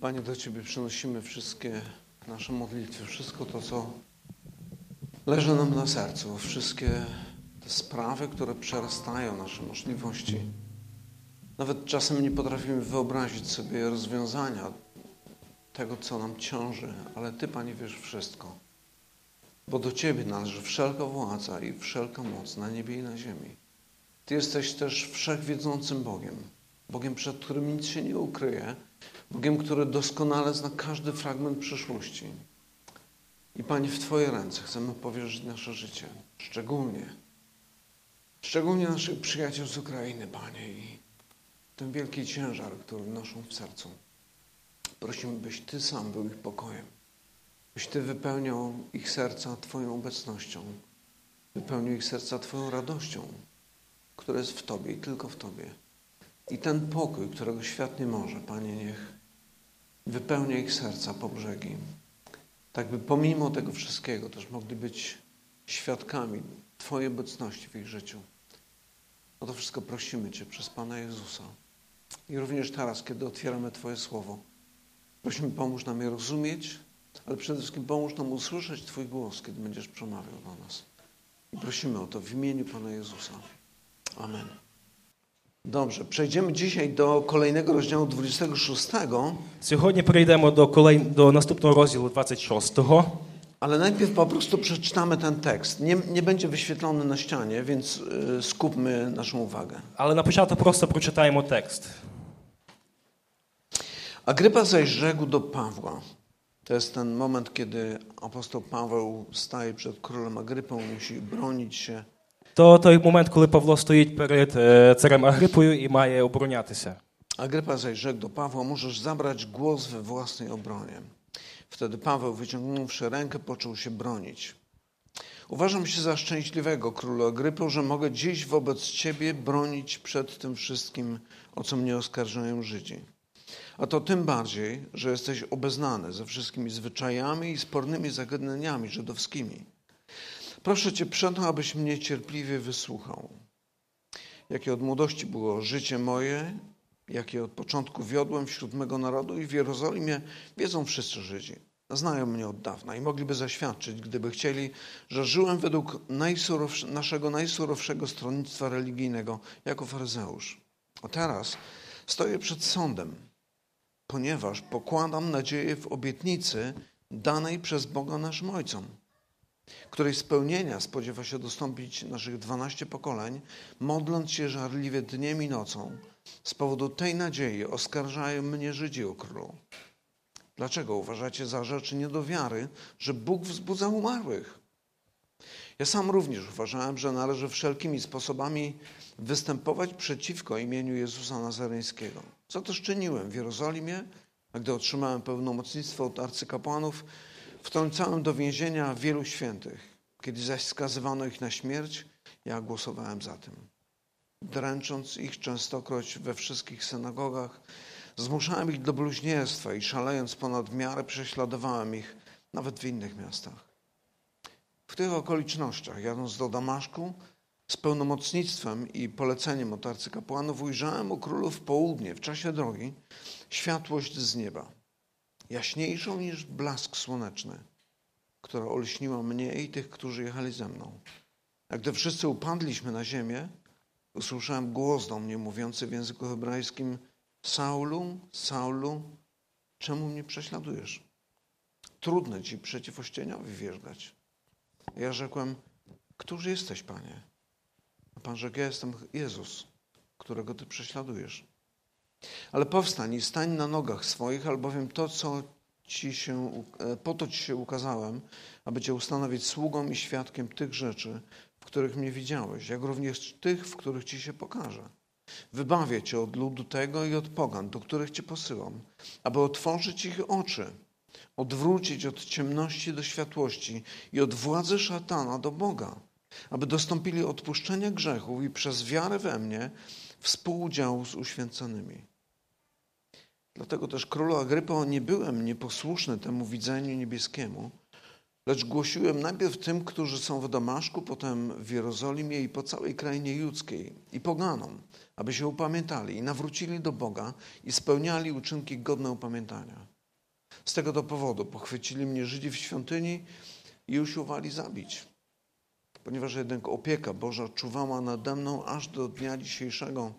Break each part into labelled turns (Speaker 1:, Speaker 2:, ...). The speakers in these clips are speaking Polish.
Speaker 1: Panie, do Ciebie przynosimy wszystkie nasze modlitwy, wszystko to, co leży nam na sercu, wszystkie te sprawy, które przerastają nasze możliwości. Nawet czasem nie potrafimy wyobrazić sobie rozwiązania tego, co nam ciąży, ale Ty, Panie, wiesz wszystko. Bo do Ciebie należy wszelka władza i wszelka moc na niebie i na ziemi. Ty jesteś też wszechwiedzącym Bogiem, Bogiem, przed którym nic się nie ukryje, Bogiem, który doskonale zna każdy fragment przyszłości. I Panie, w Twoje ręce chcemy powierzyć nasze życie, szczególnie, szczególnie naszych przyjaciół z Ukrainy, Panie, i ten wielki ciężar, który noszą w sercu. Prosimy, byś Ty sam był ich pokojem, byś Ty wypełniał ich serca Twoją obecnością, wypełnił ich serca Twoją radością, które jest w Tobie i tylko w Tobie. I ten pokój, którego świat nie może, Panie, niech wypełnia ich serca po brzegi. Tak by pomimo tego wszystkiego też mogli być świadkami Twojej obecności w ich życiu. O to wszystko prosimy Cię przez Pana Jezusa. I również teraz, kiedy otwieramy Twoje słowo, prosimy, pomóż nam je rozumieć, ale przede wszystkim pomóż nam usłyszeć Twój głos, kiedy będziesz przemawiał do nas. I prosimy o to w imieniu Pana Jezusa. Amen. Dobrze, przejdziemy dzisiaj do kolejnego rozdziału 26,
Speaker 2: Сьогодні перейдемо до, колей... до наступного розділу 26-го.
Speaker 1: ale najpierw po prostu przeczytamy ten tekst. Nie, nie będzie wyświetlony na ścianie, więc y, skupmy naszą uwagę.
Speaker 2: Але на початок просто прочитаємо текст.
Speaker 1: Agrypa zajrzegł do Pawła. To jest ten moment, kiedy apostoł Paweł staje przed królem Agrypą, musi bronić się.
Speaker 2: То той момент, коли Павло стоїть перед е, царем Агрипою і має оборонятися.
Speaker 1: Agrypa zajrzekł do Pawła, możesz zabrać głos we własnej obronie. Wtedy Paweł, wyciągnąwszy rękę, począł się bronić. Uważam się za szczęśliwego, królu Agrypo, że mogę dziś wobec ciebie bronić przed tym wszystkim, o co mnie oskarżają Żydzi. A to tym bardziej, że jesteś obeznany ze wszystkimi zwyczajami i spornymi zagadnieniami żydowskimi. Proszę cię przeto, abyś mnie cierpliwie wysłuchał jakie od młodości było życie moje, jakie od początku wiodłem wśród mego narodu i w Jerozolimie wiedzą wszyscy Żydzi. Znają mnie od dawna i mogliby zaświadczyć, gdyby chcieli, że żyłem według najsurowsz- naszego najsurowszego stronnictwa religijnego jako faryzeusz. A teraz stoję przed sądem, ponieważ pokładam nadzieję w obietnicy danej przez Boga naszym ojcom której spełnienia spodziewa się dostąpić naszych 12 pokoleń, modląc się żarliwie dniem i nocą. Z powodu tej nadziei oskarżają mnie Żydzi o królu. Dlaczego uważacie za rzecz nie do wiary, że Bóg wzbudza umarłych? Ja sam również uważałem, że należy wszelkimi sposobami występować przeciwko imieniu Jezusa Nazareńskiego. Co też czyniłem w Jerozolimie, a gdy otrzymałem pełnomocnictwo od arcykapłanów, wtrącałem do więzienia wielu świętych. Kiedy zaś skazywano ich na śmierć, ja głosowałem za tym. Dręcząc ich częstokroć we wszystkich synagogach, zmuszałem ich do bluźnierstwa i szalejąc ponad miarę prześladowałem ich nawet w innych miastach. W tych okolicznościach, jadąc do Damaszku, z pełnomocnictwem i poleceniem od arcykapłanów, ujrzałem u królu w południe, w czasie drogi, światłość z nieba, jaśniejszą niż blask słoneczny, która olśniła mnie i tych, którzy jechali ze mną. A gdy wszyscy upadliśmy na ziemię, usłyszałem głos do mnie mówiący w języku hebrajskim Saulu, Saulu, czemu mnie prześladujesz? Trudno ci przeciw ościeniowi wjeżdżać. Ja rzekłem, któż jesteś, Panie? A Pan rzekł, ja jestem Jezus, którego Ty prześladujesz. Ale powstań i stań na nogach swoich, albowiem to, co ci się, u- e, po to Ci się ukazałem, aby Cię ustanowić sługą i świadkiem tych rzeczy, w których mnie widziałeś, jak również tych, w których Ci się pokaże. Wybawię Cię od ludu tego i od pogan, do których Cię posyłam, aby otworzyć ich oczy, odwrócić od ciemności do światłości i od władzy szatana do Boga, aby dostąpili odpuszczenia grzechów i przez wiarę we mnie współudziału z uświęconymi. Dlatego też królu Agrypo nie byłem nieposłuszny temu widzeniu niebieskiemu, Lecz głosiłem najpierw tym, którzy są w Damaszku, potem w Jerozolimie i po całej krainie judzkiej i poganom, aby się upamiętali i nawrócili do Boga i spełniali uczynki godne upamiętania. Z tego to powodu pochwycili mnie Żydzi w świątyni i usiłowali zabić. Ponieważ jednak opieka Boża czuwała nade mną aż do dnia dzisiejszego,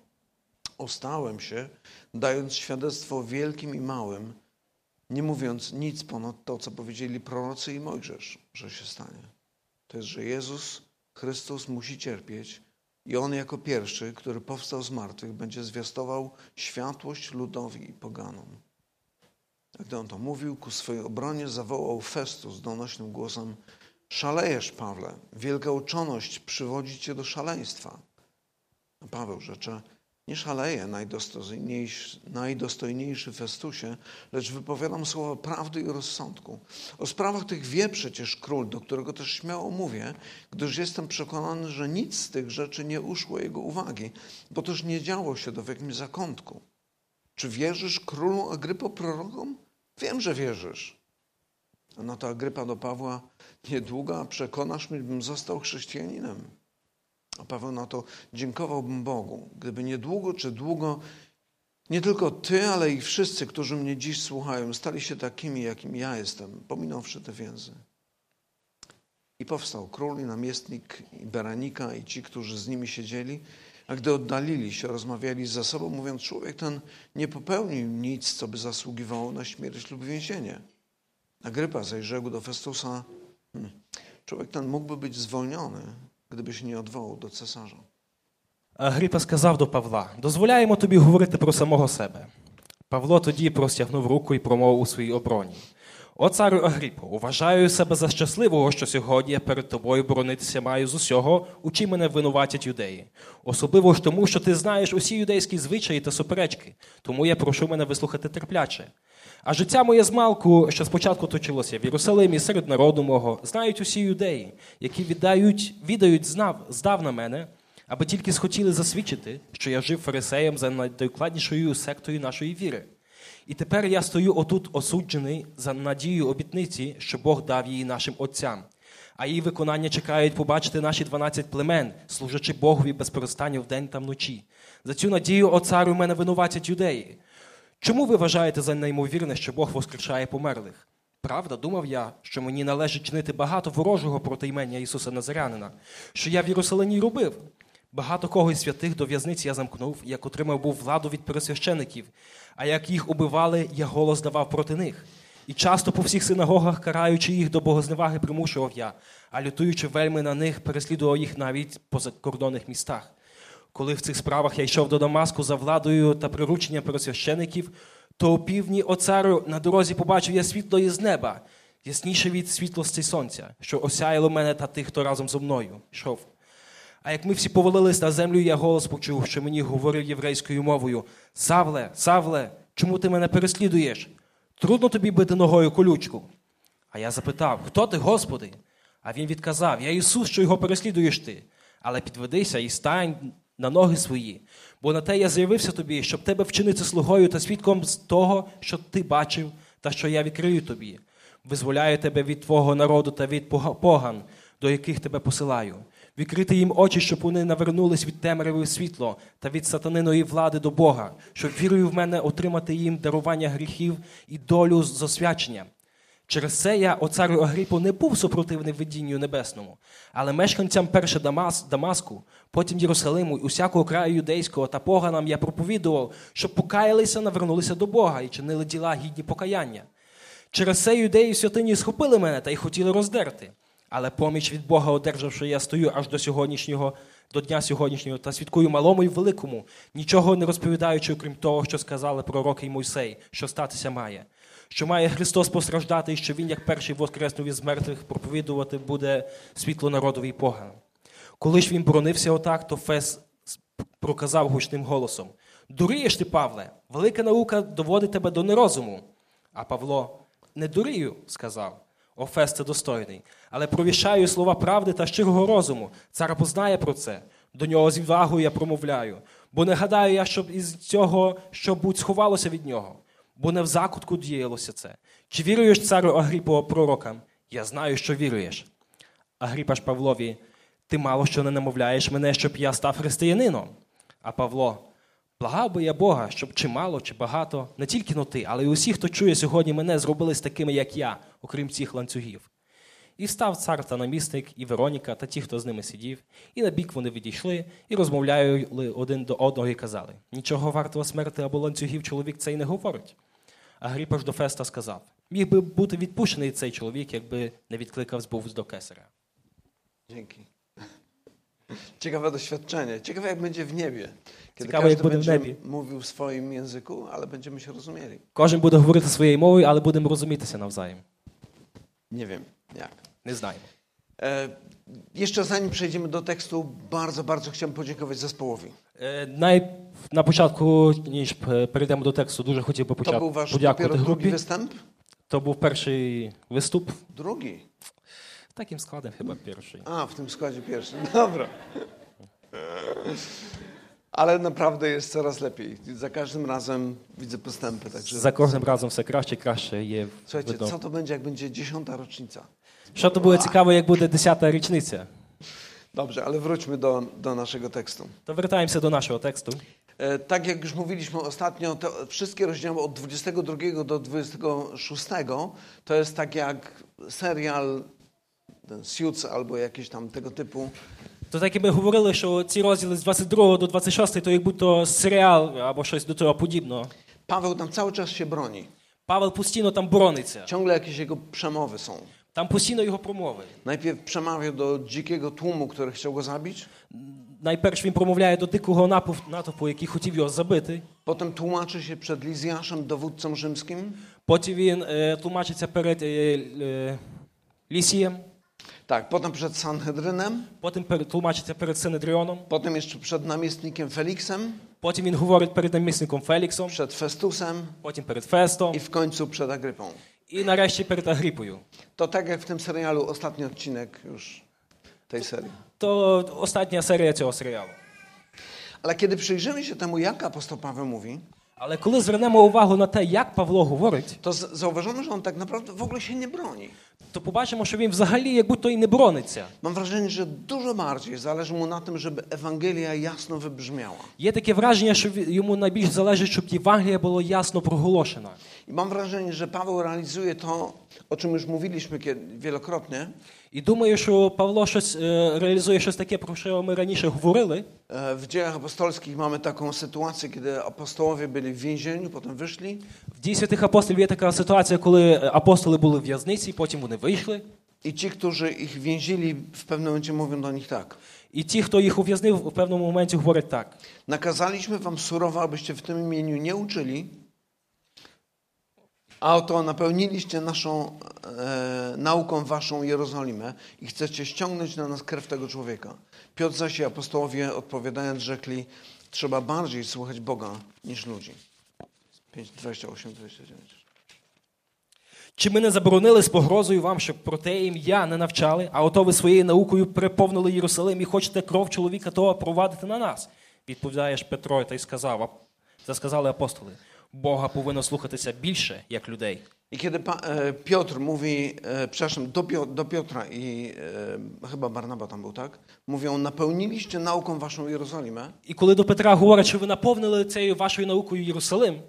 Speaker 1: ostałem się, dając świadectwo wielkim i małym, nie mówiąc nic ponad to, co powiedzieli prorocy i Mojżesz, że się stanie. To jest, że Jezus Chrystus musi cierpieć i On jako pierwszy, który powstał z martwych, będzie zwiastował światłość ludowi i poganom. A Gdy on to mówił, ku swojej obronie zawołał Festus donośnym głosem Szalejesz, Pawle, wielka uczoność przywodzi cię do szaleństwa. A No, Paweł rzecze Nie szaleję, najdostojniejszy, najdostojniejszy Festusie, lecz wypowiadam słowa prawdy i rozsądku. O sprawach tych wie przecież król, do którego też śmiało mówię, gdyż jestem przekonany, że nic z tych rzeczy nie uszło jego uwagi, bo też nie działo się to w jakimś zakątku. Czy wierzysz królu Agrypo prorokom? Wiem, że wierzysz. A na to Agrypa do Pawła, niedługo przekonasz mnie, bym został chrześcijaninem. A Paweł na to dziękowałbym Bogu, gdyby niedługo czy długo nie tylko ty, ale i wszyscy, którzy mnie dziś słuchają, stali się takimi, jakim ja jestem, pominąwszy te więzy. I powstał król i namiestnik i Beranika i ci, którzy z nimi siedzieli, a gdy oddalili się, rozmawiali ze sobą, mówiąc, człowiek ten nie popełnił nic, co by zasługiwało na śmierć lub więzienie. Agrypa zajrzał do Festusa, hmm, człowiek ten mógłby być zwolniony, gdyby się nie odwołał do cesarza.
Speaker 2: Агріпа сказав до Павла: Дозволяємо тобі говорити про самого себе. Павло тоді простягнув руку і промовив у своїй обороні. О, царю Агріпо, уважаю себе за щасливого, що сьогодні я перед тобою боронитися маю з усього, у чим мене винуватять юдеї. Особливо ж тому, що ти знаєш усі юдейські звичаї та суперечки, тому я прошу мене вислухати терпляче. А життя моє змалку, що спочатку точилося в Єрусалимі серед народу мого, знають усі юдеї, які віддають, віддають знав, здав на мене, аби тільки схотіли засвідчити, що я жив фарисеєм за найдокладнішою сектою нашої віри. І тепер я стою отут осуджений за надію обітниці, що Бог дав її нашим отцям. А її виконання чекають побачити наші 12 племен, служачи Богові без перестану вдень та вночі. За цю надію, о царю, мене винуватять юдеї. Чому ви вважаєте за неймовірне, що Бог воскрешає померлих? Правда, думав я, що мені належить чинити багато ворожого проти імення Ісуса Назарянина, що я в Єрусалимі робив. Багато кого із святих до в'язниць я замкнув, як отримав був владу від пересвящеників, а як їх убивали, я голос давав проти них. І часто по всіх синагогах, караючи їх до богозневаги, примушував я, а лютуючи вельми на них, переслідував їх навіть по закордонних містах. Коли в цих справах я йшов до Дамаску за владою та прирученням пересвящеників, то у півдні оцарю на дорозі побачив я світло із неба, ясніше від світлості сонця, що осяяло мене та тих, хто разом зо мною йшов. А як ми всі повалились на землю, я голос почув, що мені говорив єврейською мовою: Савле, Савле, чому ти мене переслідуєш? Трудно тобі бити ногою колючку. А я запитав: Хто ти, Господи? А він відказав: Я Ісус, що його переслідуєш ти. Але підведися і стань на ноги свої, бо на те я з'явився тобі, щоб тебе вчинити слугою та свідком з того, що ти бачив, та що я відкрию тобі. Визволяю тебе від твого народу та від пога- поган, до яких тебе посилаю. Відкрити їм очі, щоб вони навернулись від темряви в світло та від сатаниної влади до Бога, щоб вірою в мене отримати їм дарування гріхів і долю з освячення. Через це я, о царю Агріпу, не був супротивний видінню небесному, але мешканцям перше Дамас, Дамаску, потім Єрусалиму і усякого краю юдейського та поганам я проповідував, щоб покаялися, навернулися до Бога і чинили діла гідні покаяння. Через це юдеї в святині схопили мене та й хотіли роздерти. Але поміч від Бога одержавши, я стою аж до сьогоднішнього, до дня сьогоднішнього, та свідкую малому і великому, нічого не розповідаючи, окрім того, що сказали пророки і Мойсей, що статися має, що має Христос постраждати, і що Він, як перший воскреснув із мертвих, проповідувати буде світло народові поган. Коли ж він боронився отак, то Фес проказав гучним голосом: Дурієш ти, Павле, велика наука доводить тебе до нерозуму. А Павло не дурію, сказав. Офес це достойний, але провіщаю слова правди та щирого розуму. Цар познає про це. До нього з відвагою я промовляю, бо не гадаю я, щоб із цього що будь сховалося від нього, бо не в закутку діялося це. Чи віруєш царю Агріпо пророкам, Я знаю, що віруєш. Агріпа ж Павлові, ти мало що не намовляєш мене, щоб я став християнином. А Павло, благав би я Бога, щоб чи мало, чи багато, не тільки но ти, але й усі, хто чує сьогодні мене, зробились такими, як я, окрім цих ланцюгів. І встав цар та намісник, і Вероніка, та ті, хто з ними сидів, і на бік вони відійшли, і розмовляли один до одного і казали: Нічого вартого смерти або ланцюгів чоловік це й не говорить. Агріпа ж до Феста сказав: міг би бути відпущений цей чоловік, якби не відкликав збув до кесаря.
Speaker 1: Dzięki. Ciekawe doświadczenie. Ciekawe, jak będzie w niebie. Kiedy
Speaker 2: Ciekawe,
Speaker 1: każdy
Speaker 2: jak będę w
Speaker 1: będzie
Speaker 2: niebie.
Speaker 1: mówił w swoim języku, ale będziemy się rozumieli.
Speaker 2: Кожен буде говорити своєю мовою, але будемо розумітися навзаєм.
Speaker 1: Nie wiem jak.
Speaker 2: Не знаємо.
Speaker 1: E, jeszcze zanim przejdziemy do tekstu, bardzo, bardzo chciałem podziękować zespołowi.
Speaker 2: Е, Най... На початку, ніж е, перейдемо до тексту, дуже хотів би
Speaker 1: To
Speaker 2: почати
Speaker 1: był wasz dopiero
Speaker 2: подякувати
Speaker 1: drugi
Speaker 2: групі.
Speaker 1: występ?
Speaker 2: То був перший виступ.
Speaker 1: Drugi.
Speaker 2: Таким складом хіба перший.
Speaker 1: A, w tym składzie pierwszy. Dobra. Ale naprawdę jest coraz lepiej. Za każdym razem widzę postępy. Także
Speaker 2: За кожним разом все краще і краще є.
Speaker 1: słuchajcie,
Speaker 2: видно.
Speaker 1: co to będzie, jak będzie dziesiąta rocznica?
Speaker 2: Що то буде цікаво, як буде 10-та річниця.
Speaker 1: Dobrze, ale wróćmy do, do naszego tekstu.
Speaker 2: То вертаємося до нашого тексту.
Speaker 1: E, Tak jak już mówiliśmy ostatnio, te wszystkie rozdziały od 22 do 26 to jest tak jak serial ten Suits albo jakieś tam tego typu.
Speaker 2: То так і ми говорили, що ці розділи з 22 до 26, то як будь-то серіал або щось до того подібного.
Speaker 1: Paweł tam cały czas się broni.
Speaker 2: Павел постійно там борониться,
Speaker 1: Ciągle jakieś jego przemowy są.
Speaker 2: там постійно його промови.
Speaker 1: Najpierw przemawia do dzikiego tłumu, który chciał go zabić,
Speaker 2: Найперш він промовляє до дикого напов- натовпу, який хотів його забити.
Speaker 1: potem tłumaczy się przed Lizjaszem, dowódcą rzymskim.
Speaker 2: Потім він е, тлумачиться перед е, е, Лісієм,
Speaker 1: Tak, potem przed Sanhedrynem,
Speaker 2: потім пер- тлумачиться перед Синедріоном,
Speaker 1: potem jeszcze przed namestnikiem Feliksem,
Speaker 2: потім він говорить перед намісником Феліксом,
Speaker 1: przed Festusem
Speaker 2: потім перед Фестом
Speaker 1: i w коńcu przed Agrypą.
Speaker 2: і нарешті перед Агріпою.
Speaker 1: To tak jak w tym serialu, ostatni odcinek już tej serii.
Speaker 2: То остання серія цього серіалу.
Speaker 1: Ale kiedy przyjrzymy się temu, jak apostoł Paweł mówi,
Speaker 2: Але коли звернемо увагу на те, як Павло говорить,
Speaker 1: to z- zauważymy, że on tak naprawdę w ogóle się nie broni.
Speaker 2: то побачимо, що він взагалі як будь-то і не борониться.
Speaker 1: Mam wrażenie, że dużo bardziej zależy mu na tym, żeby Ewangelia jasno wybrzmiała.
Speaker 2: Є таке враження, що ві- йому найбільш залежить, щоб Євангелія було ясно проголошена.
Speaker 1: I mam wrażenie, że Paweł realizuje to, o czym już mówiliśmy kie- wielokrotnie,
Speaker 2: І думаю, що Павло щось е, реалізує щось таке, про що ми раніше говорили.
Speaker 1: E, W dziejach apostolskich mamy taką sytuację, kiedy apostołowie byli w więzieniu, potem wyszli
Speaker 2: В дії святих апостолів є така ситуація, коли е, апостоли були в в'язниці, потім вони вийшли.
Speaker 1: i ci, którzy ich więzili, w pewnym momencie mówią do nich tak.
Speaker 2: І ті, хто їх ув'язнив, в певному моменті говорять так:
Speaker 1: Nakazaliśmy wam surowo, abyście w tym imieniu nie uczyli, a oto napełniliście naszą e, nauką waszą Jerozolimę i chcecie ściągnąć na nas krew tego człowieka. Piotr zaś i apostołowie odpowiadając rzekli, trzeba bardziej słuchać Boga niż ludzi. 5, 28, 29.
Speaker 2: чи ми не заборонили з погрозою вам, щоб про те ім'я не навчали, а ото ви своєю наукою переповнили Єрусалим і хочете кров чоловіка того провадити на нас? Відповідаєш Петро та й сказав. ап- Та сказали апостоли: Бога повинно слухатися більше, як людей.
Speaker 1: I kiedy pa, e, Piotr mówi, e, przepraszam, do, Pio, do Piotra i e, chyba Barnaba tam był, tak? Mówią, napełniliście nauką waszą Jerozolimę.
Speaker 2: І коли до Петра говорять, що ви наповнили цією вашою наукою Єрусалим,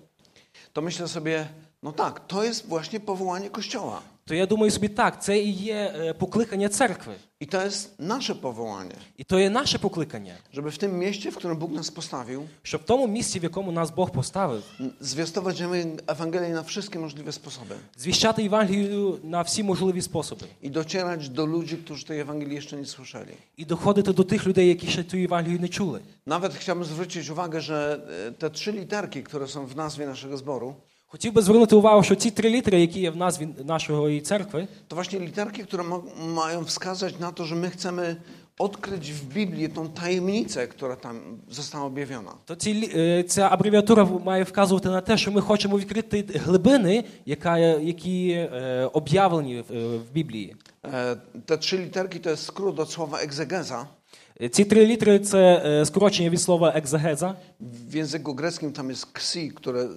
Speaker 1: to myślę sobie, no tak, to jest właśnie powołanie Kościoła.
Speaker 2: то я думаю собі так, це і є е, покликання церкви,
Speaker 1: I to jest nasze powołanie,
Speaker 2: і то є наше покликання,
Speaker 1: żeby w tym mieście, w którym Bóg nas postawił,
Speaker 2: щоб в тому mісці, в якому нас Бог поставив,
Speaker 1: n- zwiastować Ewangelię na wszystkie możliwe sposoby
Speaker 2: звіщати Євангелію на всі можливі способи
Speaker 1: i docierać do ludzi, którzy tej Ewangelii jeszcze nie słyszeli.
Speaker 2: і доходити до тих людей, які ще цю Євангелію не чули.
Speaker 1: Nawet chciałbym zwrócić uwagę, że e, te trzy literki, które są w nazwie naszego zboru,
Speaker 2: Хотів би звернути увагу, що ці три літери, які є в назві нашої церкви,
Speaker 1: to właśnie literki, które mo- mają wskazać na to, że my chcemy odkryć w Biblii tą tajemnicę, która tam została objawiona.
Speaker 2: то ці, лі- е, ця абревіатура має вказувати на те, що ми хочемо відкрити глибини, яка, є- які е, об'явлені в, е, в Біблії.
Speaker 1: E, Te trzy literki to jest skrót od słowa egzegeza,
Speaker 2: Е, Ці три літери це е, скорочення від слова екзегеза.
Speaker 1: W języku greckim tam jest ksi, które e,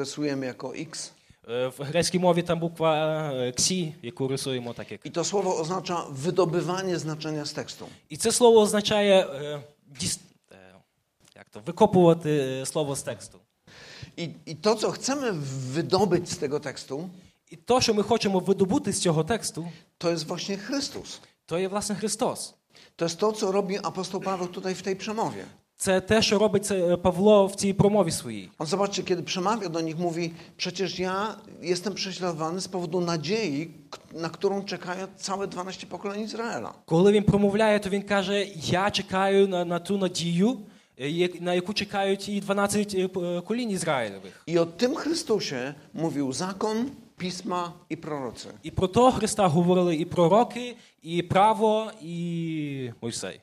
Speaker 1: rysujemy jako x.
Speaker 2: Е, В грецькій мові там буква е, ксі, яку рисуємо так як.
Speaker 1: I to słowo oznacza wydobywanie znaczenia z tekstu.
Speaker 2: І це слово означає е, діс- е, як то, викопувати е, слово з тексту.
Speaker 1: I, I to, co chcemy wydobyć з tego tekstu,
Speaker 2: І то, що ми хочемо видобути з цього тексту,
Speaker 1: to jest właśnie Chrystus.
Speaker 2: то є власне Христос.
Speaker 1: To jest to, co robi apostoł Paweł tutaj w tej przemowie.
Speaker 2: Це те, що робить це, е, Павло в цій промові своїй.
Speaker 1: On zobaczcie, kiedy przemawia do nich, mówi: Przecież ja jestem prześladowany z powodu nadziei, k- na którą czekają całe 12 pokoleń Izraela.
Speaker 2: Коли він промовляє, то він каже: Я чекаю на, на ту надію, е, як- на яку чекають і 12 е, п- е, колін Ізраїлевих.
Speaker 1: I o tym Chrystusie mówił zakon, pisma i prorocy.
Speaker 2: І про того Христа говорили і пророки, і право, і Мойсей,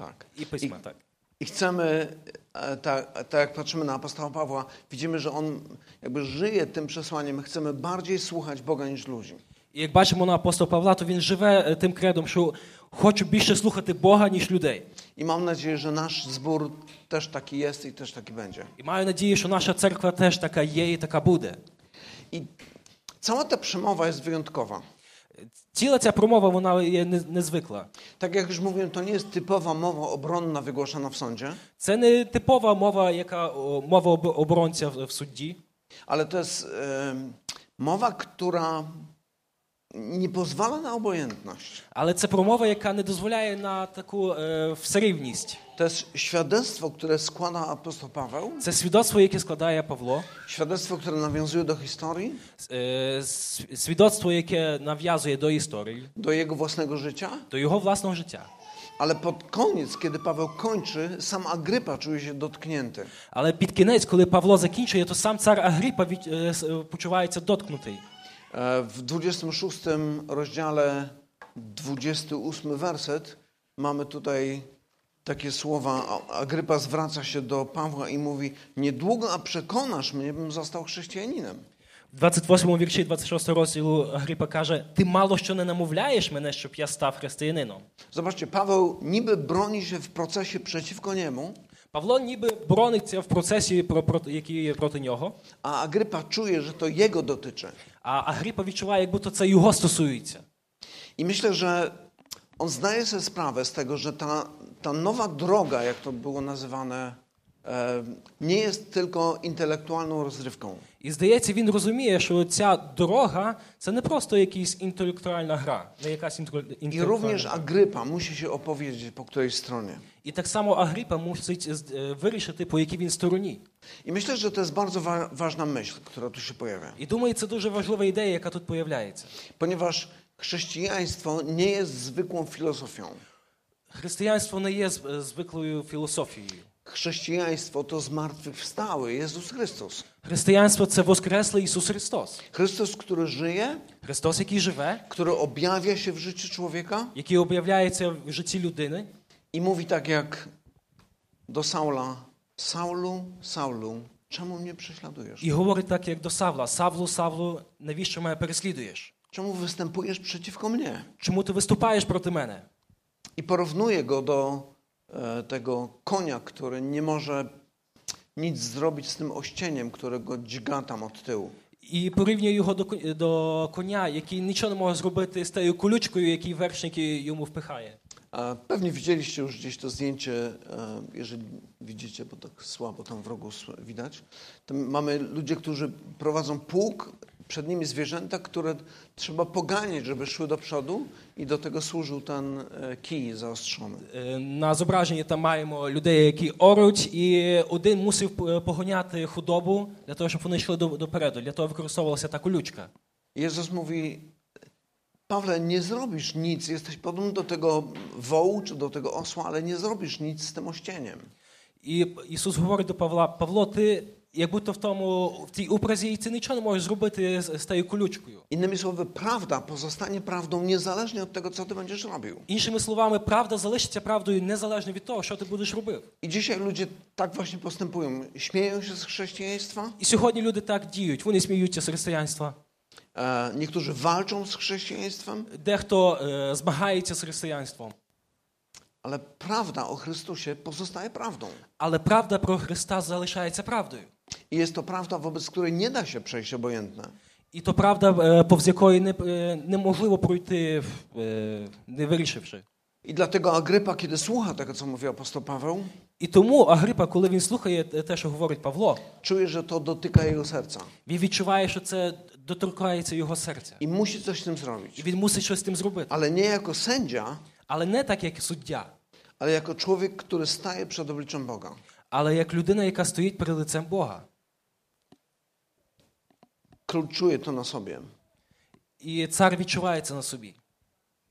Speaker 1: Tak.
Speaker 2: і письма. так.
Speaker 1: I chcemy, e, tak, tak jak patrzymy na apostoła Pawła, widzimy, że on jakby żyje tym przesłaniem. Chcemy bardziej słuchać Boga niż ludzi.
Speaker 2: І як бачимо на апостола Павла, то він живе е, тим кредом, що хочу більше слухати Бога, ніж людей.
Speaker 1: I mam nadzieję, że nasz zbór też taki jest i też taki będzie.
Speaker 2: І маю надію, що наша церква теж така є і така буде.
Speaker 1: I cała ta przemowa jest wyjątkowa.
Speaker 2: Ціла ця промова вона є не- незвикла.
Speaker 1: Tak jak już mówiłem, to nie jest typowa mowa obronna wygłaszana w sądzie,
Speaker 2: Це не типова мова, яка о, мова об- оборонця в в судді,
Speaker 1: ale to jest em, mowa, która nie pozwala na obojętność.
Speaker 2: але це промова, яка не дозволяє на таку е, всерівність.
Speaker 1: To jest świadectwo, które składa apostoł Paweł,
Speaker 2: Це свідоцтво, яке składaje Павло,
Speaker 1: świadectwo, które nawiązuje do historii,
Speaker 2: с- е, с- свідоцтво, яке нав'язує до історії,
Speaker 1: do jego własnego życia,
Speaker 2: до його власного життя.
Speaker 1: ale pod koniec, kiedy Paweł kończy, sam Agrypa czuje się dotknięty.
Speaker 2: Але під кінець, коли Павло закінчує, то сам цар Агріпа від, е, с- е, почувається доткнутий.
Speaker 1: E, W 26 rozdziale, 28 werset, mamy tutaj takie słowa. A- Agrypa zwraca się do Pawła i mówi: Niedługo, a przekonasz mnie, bym został chrześcijaninem.
Speaker 2: В 28 вірші 26 розділу Агріпа каже: Ти мало що не намовляєш мене, щоб я став християнином.
Speaker 1: Zobaczcie, Paweł niby broni się w procesie przeciwko niemu,
Speaker 2: Павло ніби борониться в процесі, про, про, який є проти нього,
Speaker 1: a Agrypa czuje, że to jego dotyczy.
Speaker 2: а Агріпа відчуває, як будто це його стосується.
Speaker 1: I myślę, że on zdaje sobie sprawę z tego, że ta, ta nowa droga, jak to było nazywane, e, nie jest tylko intelektualną rozrywką.
Speaker 2: І здається, він розуміє, що ця дорога це не просто якась інтелектуальна гра, не якась інтеле-
Speaker 1: I
Speaker 2: інтелектуальна.
Speaker 1: również Agrypa musi się opowiedzieć po której stronie.
Speaker 2: І так само Агріпа мусить з- е, wyrішити, по якій він стороні.
Speaker 1: I myślę, że to jest bardzo wa- ważna myśl, która tu się pojawia.
Speaker 2: І думаю, це дуже важлива ідея, яка тут появляється.
Speaker 1: Ponieważ chrześcijaństwo nie jest zwykłą filozofią.
Speaker 2: Християнство не є з- е, звиклою філософією.
Speaker 1: Chrześcijaństwo to zmartwychwstały Jezus Chrystus.
Speaker 2: Християнство це воскреслий Ісус Христос.
Speaker 1: Chrystus, który żyje,
Speaker 2: Христос, який живе,
Speaker 1: który objawia się w życiu człowieka
Speaker 2: який об'являється в житті людини,
Speaker 1: i mówi tak jak do Saula: Saulu, Saulu, czemu mnie prześladujesz?
Speaker 2: І говорить так, як до Савла: Савлу, Савлу, навіщо мене переслідуєш?
Speaker 1: Czemu występujesz przeciwko mnie?
Speaker 2: Чому ти виступаєш проти мене?
Speaker 1: I porównuje go do e, tego konia, który nie może nic zrobić z tym ościeniem, który go dźga tam od tyłu.
Speaker 2: І порівнює його до, кон- до коня, який нічого не може зробити з тією колючкою, який вершник йому впихає.
Speaker 1: E, Pewnie widzieliście już gdzieś to zdjęcie, e, jeżeli widzicie, bo tak słabo tam w rogu s- widać. Tam mamy ludzie, którzy prowadzą pług, przed nimi zwierzęta, które trzeba poganiać, żeby szły do przodu i do tego służył ten e, kij zaostrzony.
Speaker 2: Е, На зображенні там маємо людей, які оруть, і один мусив е, погоняти худобу для того, щоб вони йшли до- допереду. Для того використовувалася та колючка.
Speaker 1: Jezus mówi: Pawle, nie zrobisz nic, jesteś podobny do tego wołu czy do tego osła, ale nie zrobisz nic z tym ościeniem.
Speaker 2: І Ісус говорить до Павла: Павло, ти як будто в тому в тій образі, і ти нічого не можеш зробити з, з тією колючкою.
Speaker 1: Innymi słowy, prawda pozostanie prawdą niezależnie od tego, co ty będziesz robił.
Speaker 2: Іншими словами, правда залишиться правдою незалежно від того, що ти будеш робив.
Speaker 1: I dzisiaj ludzie tak właśnie postępują. Śmieją się z chrześcijaństwa,
Speaker 2: І сьогодні люди так діють. Вони сміються з християнства.
Speaker 1: e, niektórzy walczą z chrześcijaństwem,
Speaker 2: Дехто е, змагається з християнством.
Speaker 1: ale prawda o Chrystusie pozostaje prawdą.
Speaker 2: Але правда про Христа залишається правдою.
Speaker 1: I jest to prawda, wobec której nie da się przejść obojętne.
Speaker 2: І то правда, е, повз якої не, е, неможливо пройти, е, не вирішивши.
Speaker 1: I dlatego Agrypa, kiedy słucha tego, co mówi apostoł Paweł,
Speaker 2: І тому Агрипа, коли він слухає те, те, що говорить Павло,
Speaker 1: czuje, że to dotyka jego serca
Speaker 2: він відчуває, що це доторкається його серця.
Speaker 1: i musi coś z tym
Speaker 2: І
Speaker 1: zrobić.
Speaker 2: він мусить щось з тим зробити.
Speaker 1: Ale nie jako sędzia,
Speaker 2: Але не так, як суддя,
Speaker 1: ale jako człowiek, który staje przed obliczem Boga.
Speaker 2: але як людина, яка стоїть перед лицем Бога.
Speaker 1: Król czuje to na sobie.
Speaker 2: І цар відчуває це на собі.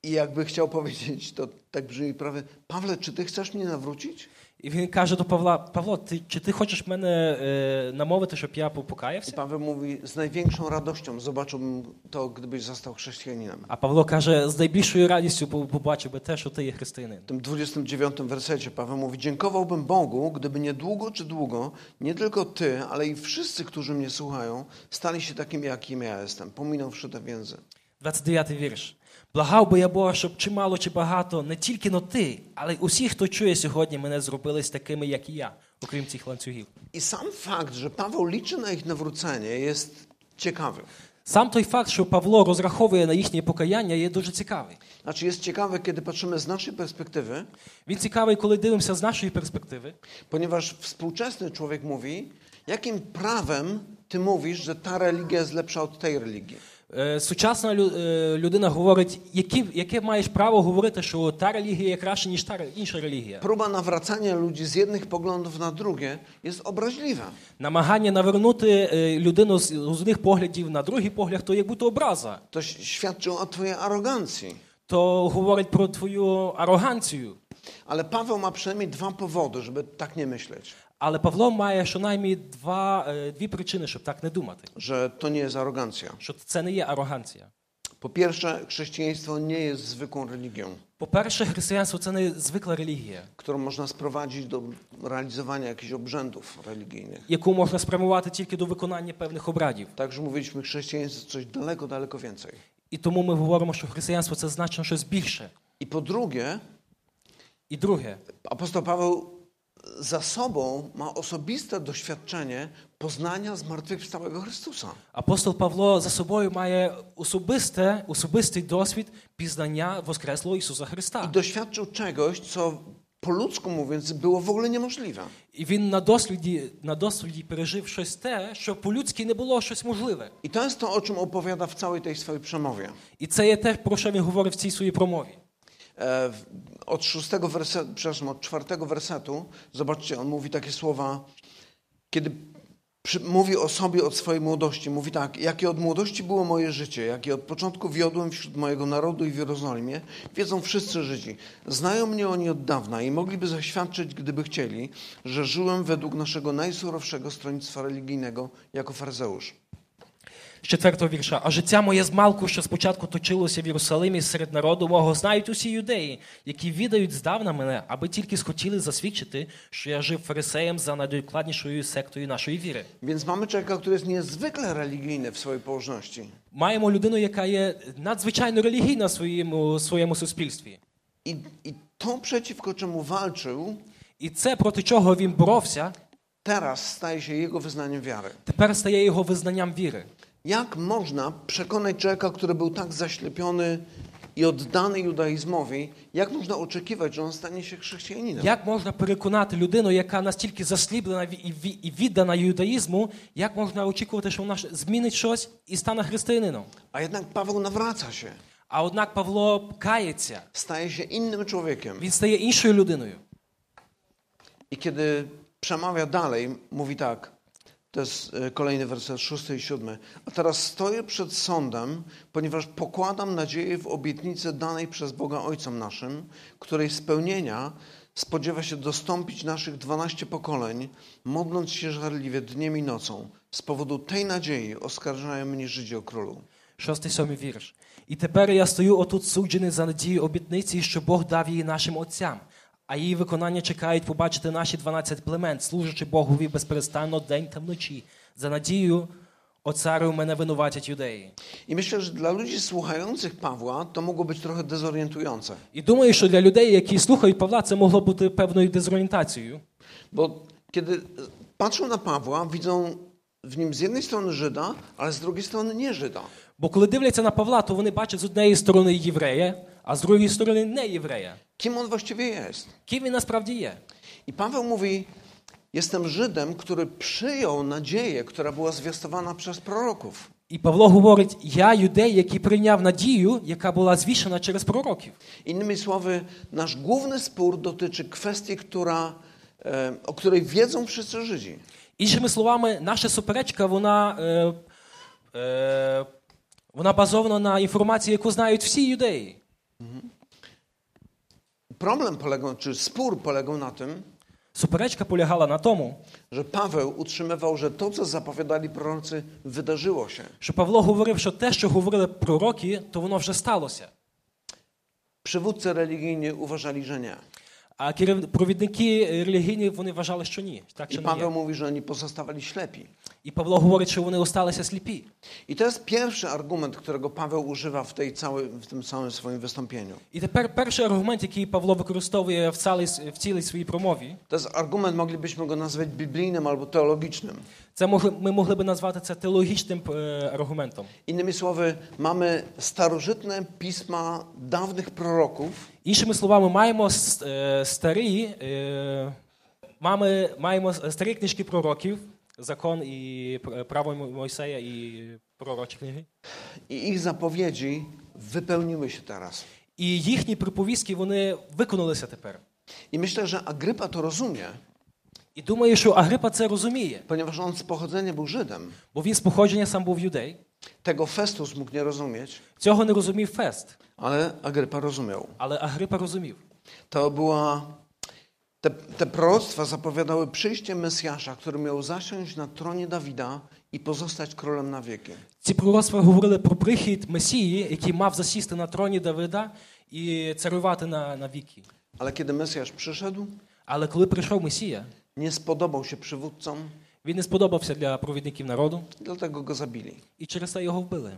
Speaker 1: I jakby chciał powiedzieć, to tak brzmi prawie, Pawle, czy ty chcesz mnie nawrócić?
Speaker 2: І він каже до Павла: Павло, ти чи ти хочеш мене е, намовити, щоб я
Speaker 1: I
Speaker 2: покаявся?
Speaker 1: Paweł mówi, z największą radością zobaczyłbym to, gdybyś został chrześcijaninem.
Speaker 2: А Павло каже: з найбільшою радістю по- побачив би те, що ти є християнин.
Speaker 1: W tym 29 wersecie Paweł mówi: Dziękowałbym Bogu, gdyby niedługo czy długo, nie tylko ty, ale i wszyscy, którzy mnie słuchają, stali się takimi, jakim ja jestem, pominąwszy te więzy.
Speaker 2: 29 вірш. Благав би я Бога, щоб чи мало, чи багато, не тільки но ти, але й усі, хто чує сьогодні, мене зробились такими, як і я, окрім цих ланцюгів.
Speaker 1: I sam fakt, że Paweł liczy na ich nawrócenie, jest ciekawy.
Speaker 2: Сам той факт, що Павло розраховує на їхнє покаяння, є дуже цікавий.
Speaker 1: Znaczy, jest ciekawy, kiedy patrzymy z naszej perspektywy,
Speaker 2: Він цікавий, коли дивимося з нашої перспективи,
Speaker 1: ponieważ współczesny człowiek mówi, jakim prawem ty mówisz, że ta religia jest lepsza od tej religii.
Speaker 2: Е, Сучасна лю- е, людина говорить, які, яке маєш право говорити, що та релігія є краще, ніж та ре- інша релігія.
Speaker 1: Próba nawracania ludzi z jednych poglądów na drugie jest obraźliwa.
Speaker 2: Намагання навернути е, людину з з одних поглядів на другий погляд, то як будто образа,
Speaker 1: To ś- świadczy o Twojej arogancji.
Speaker 2: то говорить про твою ароганцію.
Speaker 1: Ale Paweł ma przynajmniej dwa powody, żeby tak nie myśleć.
Speaker 2: Але Павло має щонаймні два, е, дві причини, щоб так не думати.
Speaker 1: Że to nie jest arogancja.
Speaker 2: Що це не є ароганція.
Speaker 1: Po pierwsze, chrześcijaństwo nie jest zwykłą religią,
Speaker 2: По-перше, християнство це не звикла релігія,
Speaker 1: którą można sprowadzić do realizowania jakichś obrzędów religijnych.
Speaker 2: яку можна спрямувати тільки до виконання певних обрядів.
Speaker 1: Także mówiliśmy, chrześcijaństwo to coś daleko, daleko więcej.
Speaker 2: І тому ми говоримо, що християнство це значно щось більше.
Speaker 1: I po drugie,
Speaker 2: І друге,
Speaker 1: apostoł Paweł za sobą ma osobiste doświadczenie poznania zmartwychwstałego Chrystusa.
Speaker 2: Апостол Павло за собою має особисте, особистий досвід пізнання Воскреслого Ісуса
Speaker 1: I
Speaker 2: Христа.
Speaker 1: doświadczył czegoś, co po ludzku mówiąc było в ogóle niemożliwe.
Speaker 2: І він на досвіді, на досвіді пережив щось те, що по-людськи не було щось можливе.
Speaker 1: I to jest to, o czym opowiada w całej tej swojej przemowie.
Speaker 2: І це є те, про що він говорив в цій своїй промові.
Speaker 1: E, w- Od szóstego wersetu, przepraszam, od czwartego wersetu, zobaczcie, on mówi takie słowa, kiedy przy, mówi o sobie od swojej młodości, mówi tak, jakie od młodości było moje życie, jakie od początku wiodłem wśród mojego narodu i w Jerozolimie, wiedzą wszyscy Żydzi. Znają mnie oni od dawna i mogliby zaświadczyć, gdyby chcieli, że żyłem według naszego najsurowszego stronnictwa religijnego jako faryzeusz.
Speaker 2: З четвертого вірша. А життя моє з малку, що спочатку точилося в Єрусалимі серед народу мого, знають усі юдеї, які відають здавна мене, аби тільки схотіли засвідчити, що я жив фарисеєм за найдокладнішою сектою нашої віри.
Speaker 1: Więc mamy człowieka, który jest niezwykle religijny w swojej położności.
Speaker 2: Маємо людину, яка є надзвичайно релігійна в своєму, своєму суспільстві.
Speaker 1: I, I to, przeciwko czemu walczył,
Speaker 2: І це проти чого він боровся,
Speaker 1: teraz staje się jego wyznaniem wiary.
Speaker 2: тепер стає його визнанням віри.
Speaker 1: Jak można przekonać człowieka, który był tak zaślepiony i oddany judaizmowi, jak można oczekiwać, że on stanie się chrześcijaninem?
Speaker 2: Як можна переконати людину, яка настільки засліблена ві- і ві- і віддана юдаїзму, як можна очікувати, що вона ж змінить щось і стане християнином?
Speaker 1: A jednak Paweł nawraca się,
Speaker 2: А однак Павло кається,
Speaker 1: staje się innym człowiekiem.
Speaker 2: він стає іншою людиною.
Speaker 1: I kiedy przemawia dalej, mówi tak, to jest e, kolejny werset, szósty i siódmy. A teraz stoję przed sądem, ponieważ pokładam nadzieję w obietnicy danej przez Boga Ojcom naszym, której spełnienia spodziewa się dostąpić naszych dwanaście pokoleń, modląc się żarliwie dniem i nocą. Z powodu tej nadziei oskarżają mnie Żydzi o królu.
Speaker 2: Шостий сьомий вірш. І тепер я стою отут суджений за надію обітниці, що Бог дав її нашим отцям. А її виконання чекають побачити наші 12 племен, служачи Богові безперестанно день та вночі. За надію, о царю, мене винуватять юдеї.
Speaker 1: I myślę, że dla ludzi słuchających Pawła to mogło być trochę dezorientujące.
Speaker 2: І думаю, що для людей, які слухають Павла, це могло бути певною дезорієнтацією.
Speaker 1: Bo kiedy patrzą na e, Pawła, widzą w nim z jednej strony Żyda, ale z drugiej strony nie Żyda.
Speaker 2: Бо коли дивляться на Павла, то вони бачать з однієї сторони єврея, а з другої сторони не єврея.
Speaker 1: Kim on właściwie jest?
Speaker 2: Ким він насправді є?
Speaker 1: I Paweł mówi: Jestem Żydem, który przyjął nadzieję, która była zwiastowana przez proroków.
Speaker 2: І Павло говорить: Я юдей, який прийняв надію, яка була звішена через пророків.
Speaker 1: Innymi słowy, nasz główny spór dotyczy kwestii, która, e, o której wiedzą wszyscy Żydzi.
Speaker 2: Іншими словами, наша суперечка вона, е, е, вона базована на інформації, яку знають всі юдеї.
Speaker 1: Problem polegał, czy spór polegał na tym,
Speaker 2: Суперечка полягала на тому,
Speaker 1: że Paweł utrzymywał, że to, co zapowiadali prorocy, wydarzyło się.
Speaker 2: що Павло говорив, що те, що говорили пророки, то воно вже сталося.
Speaker 1: Przywódcy religijni uważali, że nie.
Speaker 2: А керів- провідники е, релігійні вони вважали, що ні. Так
Speaker 1: I
Speaker 2: чи не
Speaker 1: Paweł
Speaker 2: є.
Speaker 1: mówi, że oni pozostawali ślepi.
Speaker 2: І Павло говорить, що вони осталися сліпі.
Speaker 1: I to jest pierwszy argument, którego Paweł używa w, tej całej, w tym samym swoim wystąpieniu.
Speaker 2: І тепер перший аргумент, який Павло використовує в цілій, в цілій своїй промові,
Speaker 1: To jest argument, moglibyśmy go nazwać biblijnym albo teologicznym.
Speaker 2: це могли, ми могли би назвати це теологічним е, аргументом.
Speaker 1: Innymi słowy, mamy starożytne pisma dawnych proroków,
Speaker 2: Іншими словами, маємо с- е, старі, е, мами, маємо с- старі книжки пророків, закон і пр- право Мо- Мойсея і пророчі книги.
Speaker 1: i ich zapowiedzi wypełniły się teraz.
Speaker 2: І їхні приповістки вони виконалися тепер.
Speaker 1: I myślę, że Agrypa to rozumie,
Speaker 2: І думаю, що Агрипа це розуміє,
Speaker 1: ponieważ on z pochodzenia był Żydem.
Speaker 2: бо він з походження сам був юдей.
Speaker 1: Tego Festus mógł nie rozumieć,
Speaker 2: Цього не розумів Фест,
Speaker 1: ale Agrypa rozumiał.
Speaker 2: але Агрипа розумів.
Speaker 1: To była. Te, te proroctwa zapowiadały przyjście Mesjasza, który miał zasiąść na tronie Dawida i pozostać królem na wieki.
Speaker 2: Ці пророцтва говорили про прихід Месії, який мав засісти на троні Давида і царювати на, на віки.
Speaker 1: Ale kiedy Mesjasz przyszedł,
Speaker 2: Але коли прийшов Месія,
Speaker 1: nie spodobał się przywódcom,
Speaker 2: він не сподобався для провідників народу,
Speaker 1: dlatego go zabili.
Speaker 2: і через це його вбили.